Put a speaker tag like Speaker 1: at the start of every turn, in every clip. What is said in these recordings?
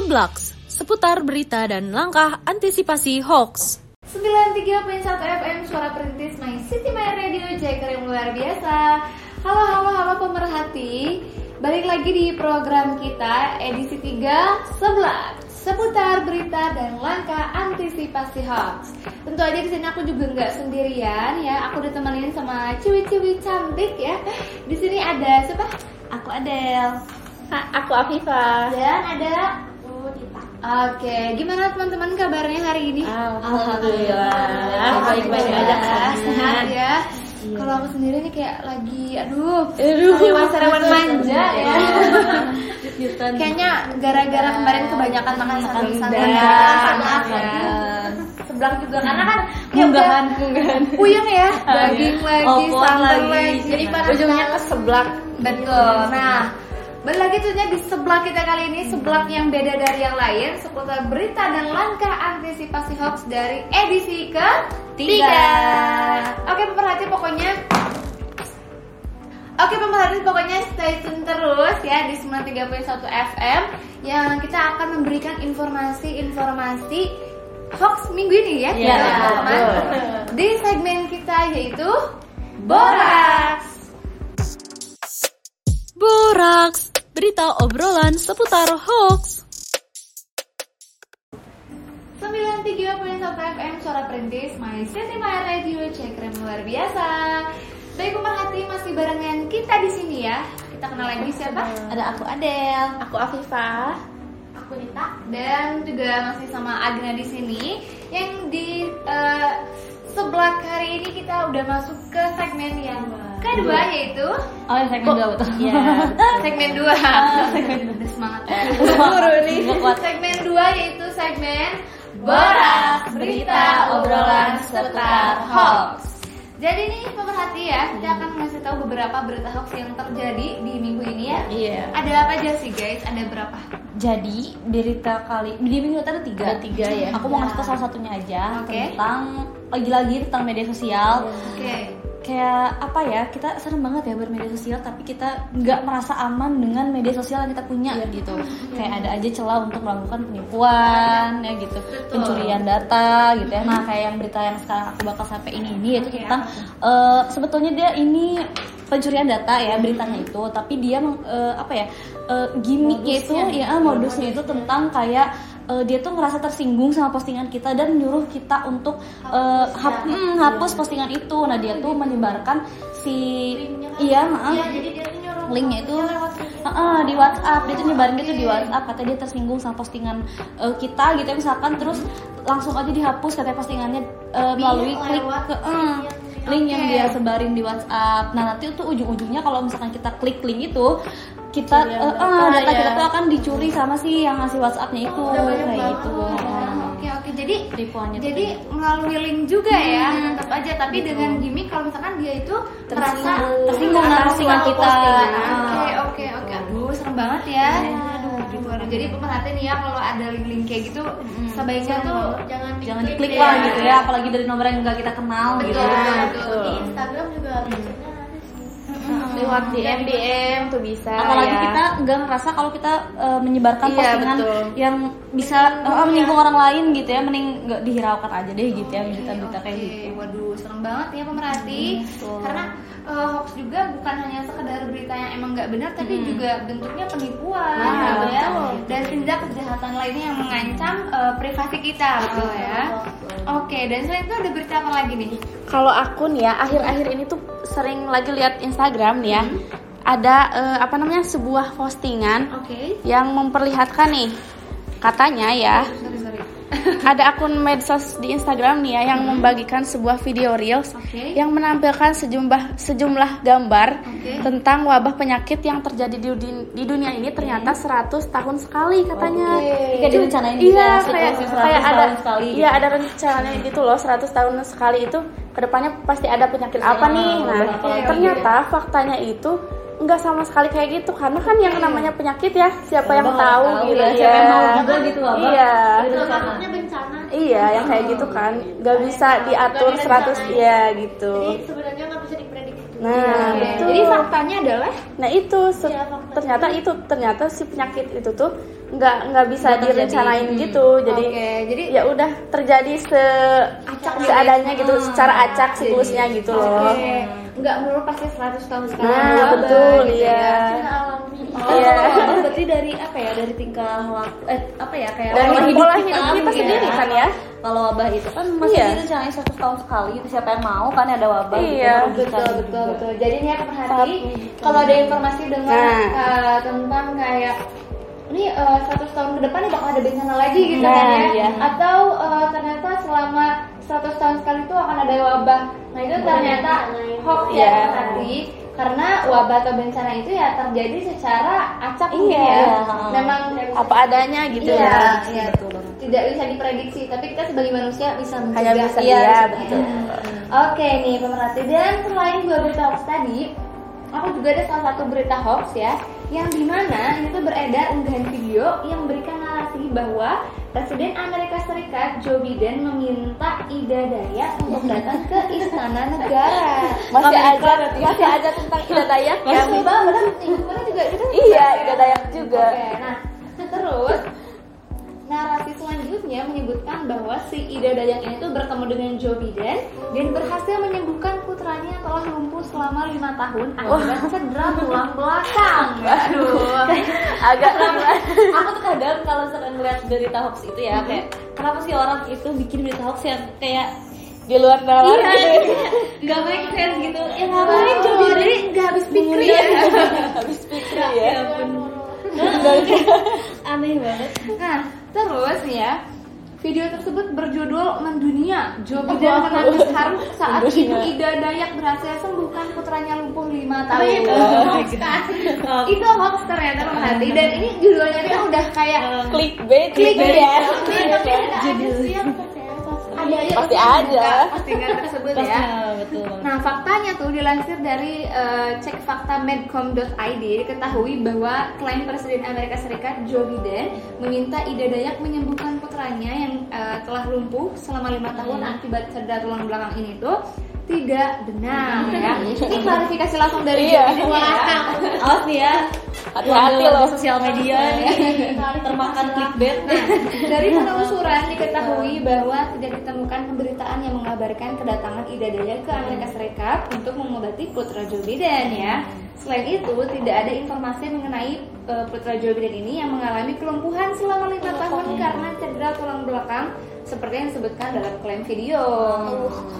Speaker 1: Blocks, seputar berita dan langkah antisipasi hoax.
Speaker 2: 93.1 FM Suara Perintis My City My Radio Jacker yang luar biasa Halo halo halo pemerhati Balik lagi di program kita edisi 3 sebelah Seputar berita dan langkah antisipasi hoax Tentu aja di sini aku juga nggak sendirian ya Aku ditemenin sama ciwi-ciwi cantik ya Di sini ada siapa? Aku Adel
Speaker 1: aku Afifa.
Speaker 2: Dan ada Oke, gimana teman-teman kabarnya hari ini?
Speaker 1: Alhamdulillah.
Speaker 2: Alhamdulillah.
Speaker 1: Baik-baik aja kan?
Speaker 2: Sehat ya. Kalau aku sendiri nih kayak lagi aduh,
Speaker 1: Aduh.
Speaker 2: hewan-hewan manja ya.
Speaker 1: Kejutan.
Speaker 2: Kayaknya gara-gara kemarin kebanyakan makan santan-santan
Speaker 1: Santan.
Speaker 2: ya. Iya. Sebelah juga karena kan ya udah
Speaker 1: Munggahan, munggahan.
Speaker 2: puyeng ya,
Speaker 1: Ah, ya.
Speaker 2: daging lagi,
Speaker 1: Opor
Speaker 2: santan
Speaker 1: lagi.
Speaker 2: lagi.
Speaker 1: Jadi panas
Speaker 2: ujungnya ke seblak. Betul. Nah, balik lagi tuhnya di seblak kita kali ini seblak yang beda dari yang lain seputar berita dan langkah antisipasi hoax dari edisi ke tiga. Oke pemerhati pokoknya Oke pemerhati pokoknya stay tune terus ya di 93.1 FM yang kita akan memberikan informasi-informasi hoax minggu ini ya
Speaker 1: Iya,
Speaker 2: kita, teman-teman.
Speaker 1: betul.
Speaker 2: di segmen kita yaitu Boraks.
Speaker 1: Boraks, berita obrolan seputar hoax.
Speaker 2: 93.1 FM Suara Perintis My City My Radio Cekrem luar biasa Baik pemerhati masih barengan kita di sini ya Kita kenal lagi siapa?
Speaker 1: Ada aku Adel.
Speaker 2: Aku Afifa Aku Nita Dan juga masih sama Agna di sini Yang di eh, sebelah hari ini kita udah masuk ke segmen yang kedua yaitu
Speaker 1: Oh, segmen dua betul.
Speaker 2: Iya.
Speaker 3: Iya.
Speaker 2: segmen dua Udah semangat
Speaker 1: Buru nih.
Speaker 2: Segmen 2 yaitu segmen Borak Berita Obrolan Seputar Hoax Jadi nih pemerhati ya, kita akan ngasih tahu beberapa berita hoax yang terjadi di minggu ini ya
Speaker 3: Iya.
Speaker 2: Ada apa aja sih guys? Ada berapa?
Speaker 3: Jadi berita kali di minggu itu ada tiga.
Speaker 1: Ada tiga ya.
Speaker 3: Aku mau ngasih tau salah satunya aja
Speaker 2: Oke.
Speaker 3: tentang lagi-lagi tentang media sosial.
Speaker 1: Iya.
Speaker 2: Oke
Speaker 3: Kayak apa ya? Kita serem banget ya bermedia sosial, tapi kita nggak merasa aman dengan media sosial yang kita punya gitu. Kayak ada aja celah untuk melakukan penipuan ya gitu, pencurian data gitu ya. Nah kayak yang berita yang sekarang aku bakal sampai ini ini yaitu
Speaker 2: Oke,
Speaker 3: tentang eh, sebetulnya dia ini pencurian data ya beritanya itu, tapi dia meng- eh, apa ya? eh, gimmicknya itu ya ah, modusnya itu tentang kayak eh, dia tuh ngerasa tersinggung sama postingan kita dan nyuruh kita untuk eh, hap- hmm, hapus postingan itu. Nah, dia tuh menyebarkan si iya, maaf. linknya itu Heeh, di WhatsApp dia tuh nyebarin gitu di WhatsApp katanya dia tersinggung sama postingan eh, kita gitu ya, misalkan terus langsung aja dihapus katanya postingannya eh, melalui klik ke eh, link yang dia sebarin di WhatsApp. Nah nanti tuh ujung-ujungnya kalau misalkan kita klik link itu kita eh, eh, data kita tuh akan dicuri sama si yang ngasih WhatsAppnya itu kayak gitu.
Speaker 2: Oke oke jadi
Speaker 3: Penipuannya tuh
Speaker 2: Gitu. jadi melalui link juga ya tetap aja tapi dengan gimmick kalau misalkan dia itu merasa
Speaker 3: Tersinggung. Tersinggung dengan postingan kita.
Speaker 2: Oke oke oke aduh serem banget ya. Aduh, gitu. Jadi pemerhatiin ya kalau ada link-link kayak gitu sebaiknya tuh jangan
Speaker 3: jangan diklik lah gitu ya apalagi dari nomor yang nggak kita kenal
Speaker 2: Betul,
Speaker 3: gitu
Speaker 2: betul,
Speaker 3: ya.
Speaker 2: betul.
Speaker 3: Betul.
Speaker 2: Di
Speaker 4: Instagram juga
Speaker 1: Lewat DM DM tuh bisa.
Speaker 3: apalagi
Speaker 1: ya.
Speaker 3: kita nggak ngerasa kalau kita eh, menyebarkan
Speaker 1: Iya,
Speaker 3: postingan
Speaker 1: betul. Iya,
Speaker 3: yang bisa eh, menyinggung orang lain gitu ya mending nggak dihiraukan aja deh gitu ya berita-berita kayak
Speaker 2: Oke,
Speaker 3: gitu
Speaker 2: Waduh, serem banget ya pemerhati.
Speaker 3: betul.
Speaker 2: Karena eh, hoax juga bukan hanya sekedar berita yang emang nggak benar, tapi juga bentuknya penipuan, gitu ya. Dan tindak kejahatan lainnya yang mengancam eh, privasi kita, betul ya. Oke, dan selain itu ada berita apa lagi nih?
Speaker 1: Kalau aku nih ya, akhir-akhir ini tuh sering lagi lihat Instagram nih ya. Ada eh, apa namanya sebuah postingan
Speaker 2: Oke,
Speaker 1: yang memperlihatkan nih katanya ya
Speaker 2: sorry sorry.
Speaker 1: ada akun medsos di Instagram nih ya yang membagikan sebuah video reels
Speaker 2: Oke.
Speaker 1: yang menampilkan sejumlah sejumlah gambar
Speaker 2: Oke.
Speaker 1: tentang wabah penyakit yang terjadi di, dun- di dunia ini ternyata 100 tahun sekali katanya.
Speaker 3: Jika direncanain gitu ya,
Speaker 1: Iya, kayak,
Speaker 3: sirkulasi 100
Speaker 1: kayak ada
Speaker 3: tahun sekali
Speaker 1: Iya, ada rencananya gitu loh, 100 tahun sekali itu kedepannya pasti ada penyakit apa
Speaker 3: Iya,
Speaker 1: nih. Nah, ternyata
Speaker 3: gitu.
Speaker 1: faktanya itu nggak sama sekali kayak gitu karena kan yang namanya penyakit ya siapa yang
Speaker 3: nggak
Speaker 1: tahu
Speaker 3: tahu
Speaker 1: gitu
Speaker 3: ya, siapa yang mau juga gitu, Abang.
Speaker 1: iya
Speaker 4: Makanya bencana.
Speaker 1: iya yang kayak gitu kan nggak bisa diatur 100 iya gitu
Speaker 4: Jadi sebenarnya nggak bisa diprediksi
Speaker 1: Nah,
Speaker 2: Oke,
Speaker 1: betul.
Speaker 2: Jadi faktanya adalah
Speaker 1: Nah itu se-
Speaker 4: Iya, fakta.
Speaker 1: ternyata itu ternyata si penyakit itu tuh nggak nggak bisa
Speaker 3: Nggak terjadi.
Speaker 1: direncanain
Speaker 3: Hmm.
Speaker 1: gitu. Jadi
Speaker 2: Oke, jadi
Speaker 1: ya udah terjadi se seadanya gitu, secara acak siklusnya gitu loh.
Speaker 2: Oke, nggak melulu pasti 100 tahun sekali.
Speaker 1: Nah
Speaker 2: ada wabah,
Speaker 1: betul
Speaker 2: gitu
Speaker 1: iya.
Speaker 4: Karena alami.
Speaker 3: Oh,
Speaker 1: Iya.
Speaker 3: berarti dari apa ya? Dari tingkah laku eh apa ya kayak
Speaker 1: Dari
Speaker 3: pola
Speaker 1: pola hidup kita
Speaker 3: mungkin
Speaker 1: sendiri kan ya.
Speaker 3: gitu Kalau wabah itu kan masih
Speaker 1: Iya.
Speaker 3: direncanain satu tahun sekali gitu siapa yang mau kan ada wabah
Speaker 1: Iya,
Speaker 3: gitu. merugikan
Speaker 2: betul betul
Speaker 3: juga.
Speaker 2: betul jadi nih ya pemerhati
Speaker 1: Paham.
Speaker 2: kalau ada informasi dengar
Speaker 1: Nah.
Speaker 2: uh, tentang kayak ini uh, 100 tahun ke depan nih bakal ada bencana lagi gitu
Speaker 1: Nah,
Speaker 2: kan ya
Speaker 1: iya.
Speaker 2: atau uh, ternyata selama 100 tahun sekali itu akan ada wabah nah itu ternyata hoax ya
Speaker 1: Iya.
Speaker 2: pemerhati karena wabah atau bencana itu ya terjadi secara acak mungkin
Speaker 1: Iya.
Speaker 2: ya memang
Speaker 1: Apa adanya gitu
Speaker 2: Iya,
Speaker 1: ya.
Speaker 2: iya.
Speaker 3: Betul banget.
Speaker 2: tidak bisa diprediksi tapi kita sebagai manusia bisa
Speaker 1: Hanya
Speaker 2: mencegah
Speaker 1: bisa
Speaker 2: Iya,
Speaker 1: iya,
Speaker 2: maksudnya.
Speaker 1: betul.
Speaker 2: Oke nih pemerhati dan selain dua berita hoax tadi, aku juga ada salah satu berita hoax ya yang dimana ini tuh beredar unggahan video yang memberikan narasi bahwa Presiden Amerika Serikat Joe Biden meminta Ida Dayak untuk datang ke Istana Negara.
Speaker 1: Masih aja masih aja tentang Ida Dayak ya.
Speaker 2: Yang banget, kemarin Iya, juga kita
Speaker 1: Iya, Ida Dayak juga.
Speaker 2: Oke, nah terus narasi selanjutnya menyebutkan bahwa si Ida Dayak ini tuh bertemu dengan Joe Biden dan berhasil menyembuhkan putranya yang telah lumpuh selama lima tahun akibat cedera tulang belakang. Aduh.
Speaker 1: Agak
Speaker 3: aku tuh kadang kalau misalkan ngeliat berita hoax itu ya kayak kenapa sih orang itu bikin berita hoax yang kayak
Speaker 1: di luar nalar
Speaker 2: Iya,
Speaker 1: gitu.
Speaker 3: nggak make sense gitu ya
Speaker 2: Kemarin
Speaker 3: ngapain
Speaker 2: Joe
Speaker 3: coba
Speaker 2: Biden nggak habis pikir ya.
Speaker 1: Habis pikir ya.
Speaker 3: aneh banget
Speaker 2: Nah, terus nih ya. Video tersebut berjudul Mendunia. Joe Biden menangis haru saat ibu Ida Dayak berhasil sembuhkan putranya lumpuh 5 tahun.
Speaker 4: Tapi itu hoax kan?
Speaker 2: itu hoax ternyata menghati dan ini judulnya ini udah kayak
Speaker 1: Clickbait
Speaker 2: klik
Speaker 1: gitu Oh, ya.
Speaker 4: Tapi ada ada sih
Speaker 2: ada aja postingan juga, postingan
Speaker 1: Pasti ada.
Speaker 4: yang
Speaker 2: tersebut
Speaker 3: Pasti,
Speaker 2: ya
Speaker 3: ah, betul banget
Speaker 2: Nah, faktanya tuh dilansir dari eh, cek fakta medcom.id diketahui bahwa klaim Presiden Amerika Serikat Joe Biden meminta Ida Dayak menyembuhkan putranya yang eh, telah lumpuh selama lima tahun akibat cedera tulang belakang ini tuh tidak benar ya. Ini klarifikasi langsung dari
Speaker 1: Iya.
Speaker 2: Joe Biden ya.
Speaker 3: awas nih ya
Speaker 1: Hati-hati
Speaker 3: Waduh,
Speaker 1: loh.
Speaker 3: sosial media nih termakan clickbait
Speaker 2: Nah, dari penelusuran diketahui bahwa tidak ditemukan pemberitaan yang mengabarkan kedatangan Ida Dayak ke Amerika Serikat untuk mengobati putra Joe Biden ya. Selain itu, tidak ada informasi mengenai eh, putra Joe Biden ini yang mengalami kelumpuhan selama lima tahun karena cedera tulang belakang seperti yang disebutkan dalam klaim video.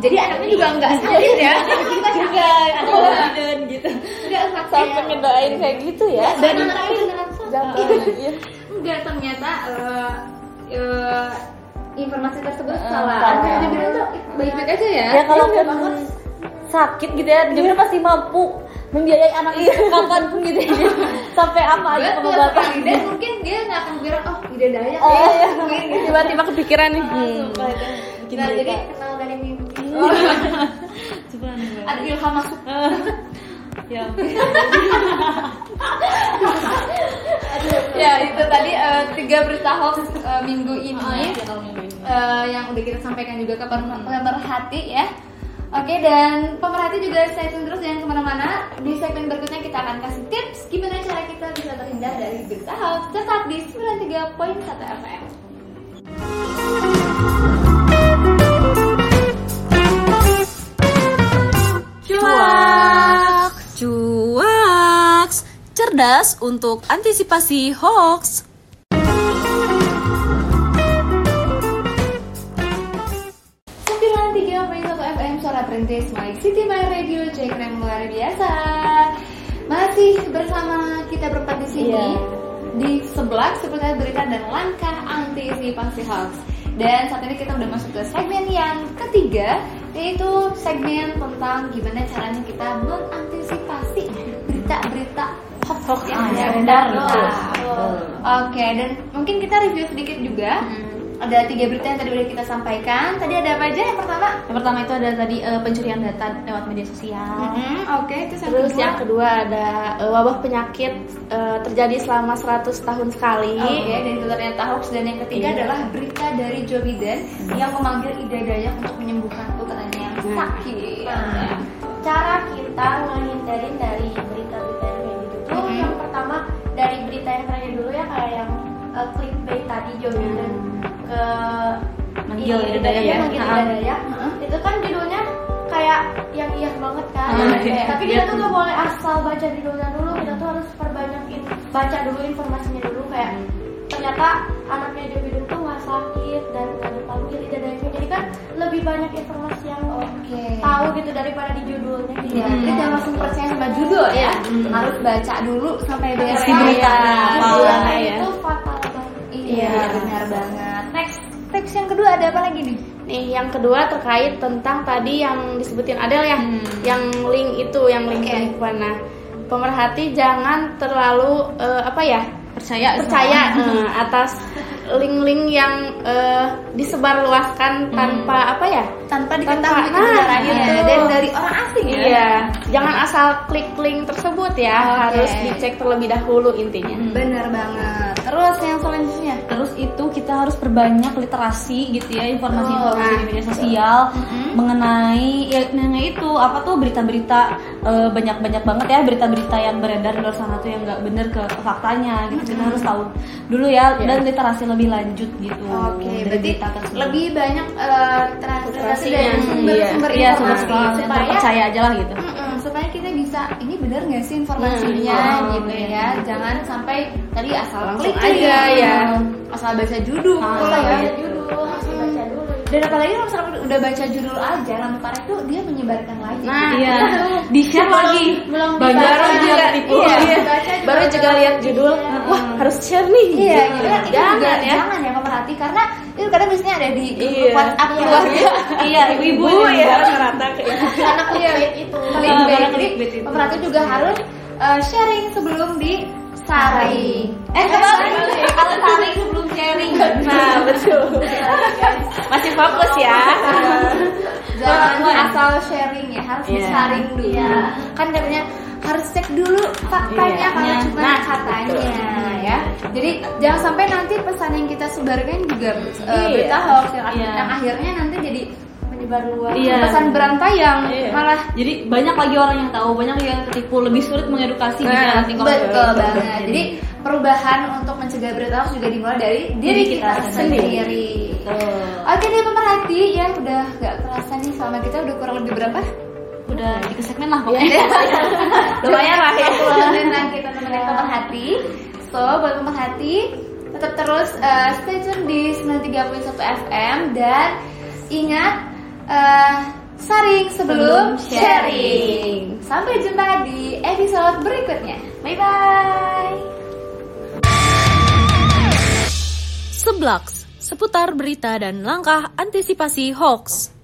Speaker 2: Jadi anaknya juga nggak sakit ya. Kita juga
Speaker 3: ada confident gitu
Speaker 2: nggak
Speaker 1: Sampai
Speaker 2: sakit.
Speaker 1: ngedoain kayak gitu ya.
Speaker 2: Dan anaknya beneran sakit.
Speaker 1: Jangan iya.
Speaker 2: Enggak, ternyata eh, eh, informasi tersebut
Speaker 3: Eh,
Speaker 2: salah.
Speaker 3: salah.
Speaker 2: Ada yang bilang tuh baik-baik aja ya.
Speaker 3: ya kalau aku sakit gitu ya dia pasti mampu membiayai anak itu kapan pun gitu ya sampai apa aja
Speaker 2: Betul
Speaker 3: pengobatan
Speaker 2: sekali. Dan mungkin dia nggak akan bilang oh tidak ada ya.
Speaker 1: Oh iya. Tiba-tiba kepikiran nih. Hmm.
Speaker 2: Nah, jadi
Speaker 4: kenal dari mimpi.
Speaker 3: Coba nih, Mbak.
Speaker 2: ada ilham masuk.
Speaker 3: ya
Speaker 2: ya itu tadi eh, tiga berita hoax eh, minggu ini.
Speaker 5: Oh, iya.
Speaker 2: eh, yang udah kita sampaikan juga ke pemer- pemerhati ya. Oke dan pemerhati juga stay tune terus jangan kemana-mana. Di segmen berikutnya kita akan kasih tips gimana cara kita bisa terhindar dari berita hoax. Tetap di 93.1 FM.
Speaker 5: Cuak, cuak, cerdas untuk antisipasi hoax.
Speaker 2: Sembilan tiga FM suara perintis My City My Radio Jack yang luar biasa. Masih bersama kita berempat di sini
Speaker 3: Iya.
Speaker 2: di sebelah seputar berita dan langkah antisipasi hoax. Dan saat ini kita udah masuk ke segmen yang ketiga yaitu segmen tentang gimana caranya kita mengantisipasi berita-berita hoax yang
Speaker 3: Ah, yang
Speaker 2: beredar.
Speaker 3: beredar, betul.
Speaker 2: Wah. Oke, dan mungkin kita review sedikit juga. Ada tiga berita yang tadi udah kita sampaikan. Tadi ada apa aja? Yang pertama,
Speaker 3: yang pertama itu ada tadi eh, pencurian data lewat media sosial
Speaker 2: Mm-mm, Hmm, oke itu yang
Speaker 1: Terus
Speaker 2: kedua.
Speaker 1: yang kedua ada eh, wabah penyakit eh, terjadi selama 100 tahun sekali.
Speaker 2: Oke, dan itu ternyata hoax dan yang ketiga adalah berita dari Joe Biden yang memanggil Ida Dayak untuk menyembuhkan putranya yang sakit. Hmm.
Speaker 4: Nah, cara kita kita menghindarin dari berita-berita yang kayak gitu tuh
Speaker 2: Mhm.
Speaker 4: yang pertama dari berita yang terakhir dulu ya kayak yang eh, clickbait tadi Joe Biden ke
Speaker 3: Manggil
Speaker 4: ini, iya,
Speaker 3: Ida Dayak ya?
Speaker 4: manggil Ida
Speaker 3: Ha-ha.
Speaker 4: Dayak. itu kan judulnya kayak yang iya banget kan
Speaker 3: Ah, iya.
Speaker 4: tapi kita tuh gak boleh asal baca judulnya dulu kita tuh harus perbanyak in- baca dulu informasinya dulu kayak ternyata anaknya Joe Biden tuh nggak sakit dan nggak dipanggil Ida Dayaknya jadi kan lebih banyak informasi yang
Speaker 3: Iya.
Speaker 2: Oke.
Speaker 4: tahu gitu daripada di judulnya gitu.
Speaker 2: Iya, kita jangan langsung percaya sama judul ya. Harus baca dulu sampai Iya. beres
Speaker 4: Sampai
Speaker 2: beritanya.
Speaker 4: Terus
Speaker 3: Wow.
Speaker 4: judulnya
Speaker 3: Awalnya ya.
Speaker 4: itu fatal banget.
Speaker 2: Iya, benar banget. Next, tips yang kedua ada apa lagi nih?
Speaker 1: Nih, yang kedua terkait tentang tadi yang disebutin Adel ya, yang link itu, yang link penipuan. Nah, pemerhati jangan terlalu eh, apa ya
Speaker 3: percaya sama-
Speaker 1: percaya eh, atas link-link yang eh, disebarluaskan tanpa apa ya?
Speaker 2: Tanpa
Speaker 1: Tanpa-
Speaker 2: diketahui
Speaker 1: nah,
Speaker 2: kebenarannya
Speaker 1: gitu.
Speaker 2: dan dari orang asing ya.
Speaker 1: Iya, jangan asal klik link tersebut ya,
Speaker 2: Oke.
Speaker 1: harus dicek terlebih dahulu intinya.
Speaker 3: Hmm.
Speaker 2: Benar banget. Terus yang selanjutnya.
Speaker 3: Terus itu kita harus perbanyak literasi gitu ya
Speaker 2: Oh,
Speaker 3: informasi-informasi
Speaker 2: iya.
Speaker 3: di media sosial mengenai ya mengenai itu apa tuh berita-berita eh, banyak-banyak banget ya berita-berita yang beredar di luar sana tuh yang nggak bener ke faktanya gitu kita harus tahu dulu ya dan literasi lebih lanjut gitu
Speaker 2: Iya. Oke,
Speaker 3: dari
Speaker 2: berarti
Speaker 3: berita tersebut.
Speaker 2: lebih banyak eh, transliterasi dari
Speaker 1: Hmm,
Speaker 2: sumber-sumber
Speaker 3: iya sama
Speaker 2: informasi
Speaker 3: sekali yang
Speaker 2: supaya
Speaker 3: terpercaya aja lah gitu.
Speaker 2: Mm-mm, supaya kita bisa ini benar nggak sih informasinya
Speaker 3: Nah, iya.
Speaker 2: gitu ya jangan sampai tadi asal
Speaker 1: Langsung
Speaker 2: klik
Speaker 1: aja, ya.
Speaker 2: Iya, asal baca judul
Speaker 3: Ah,
Speaker 2: gitu ya.
Speaker 4: Baca judul, harus baca dulu.
Speaker 2: dan apalagi kalau misalkan udah baca judul aja langsung parah itu dia menyebarkan lagi
Speaker 1: Nah,
Speaker 3: Iya, di share lagi.
Speaker 4: belum
Speaker 3: Banyak
Speaker 1: baru
Speaker 3: yang
Speaker 1: juga
Speaker 3: tertipu.
Speaker 1: iya,
Speaker 4: Baca juga.
Speaker 1: baru juga lihat judul, wah harus share nih.
Speaker 2: Iya, gitu kan itu
Speaker 1: Jangan
Speaker 2: juga
Speaker 1: ya.
Speaker 2: jangan ya pemerhati karena itu kadang biasanya ada di ah, grup
Speaker 1: Iya.
Speaker 2: WhatsApp keluarga
Speaker 3: Iya, ibu-ibu
Speaker 1: ya
Speaker 3: yang
Speaker 1: rata-rata kayak
Speaker 4: Karena
Speaker 2: Iya.
Speaker 4: clickbait itu.
Speaker 2: Paling
Speaker 3: Ah,
Speaker 2: baik,
Speaker 3: karena
Speaker 2: jadi
Speaker 3: clickbait itu.
Speaker 2: pemerhati juga harus eh, sharing sebelum di saring. Eh, kebalik. Kalau saring sebelum sharing.
Speaker 1: Nah, betul. Masih fokus ya.
Speaker 2: Jangan asal sharing ya,
Speaker 3: Iya.
Speaker 2: harus disaring dulu. Kan katanya harus cek dulu
Speaker 3: Iya.
Speaker 2: faktanya kalau
Speaker 3: Nah,
Speaker 2: cuma katanya ya. Jadi jangan sampai nanti pesan yang kita sebarkan juga eh, berita hoax yang,
Speaker 3: Iya.
Speaker 2: yang akhirnya nanti jadi
Speaker 4: Menyebar luas.
Speaker 3: Iya.
Speaker 2: pesan berantai yang
Speaker 1: Iya.
Speaker 2: malah
Speaker 3: Jadi banyak lagi orang yang tahu, banyak lagi yang ketipu, lebih sulit mengedukasi gitu ya
Speaker 2: Nah,
Speaker 3: nanti kalau
Speaker 2: betul banget. Jadi perubahan untuk mencegah berita hoax juga dimulai dari diri
Speaker 3: Diri
Speaker 2: kita
Speaker 3: kita
Speaker 2: sendiri.
Speaker 3: sendiri.
Speaker 2: Betul. Oke deh pemerhati ya udah nggak kerasa nih selama kita udah kurang lebih berapa?
Speaker 3: udah tiga segmen lah pokoknya.
Speaker 1: Lumayan lah ya.
Speaker 2: Karena kita temenin pemerhati. So buat pemerhati tetap terus eh, stay tune di 931 FM dan ingat eh, saring sebelum,
Speaker 3: Sebelum
Speaker 2: sharing. Sampai jumpa di episode berikutnya. Bye bye.
Speaker 5: Seblaks, seputar berita dan langkah antisipasi hoax.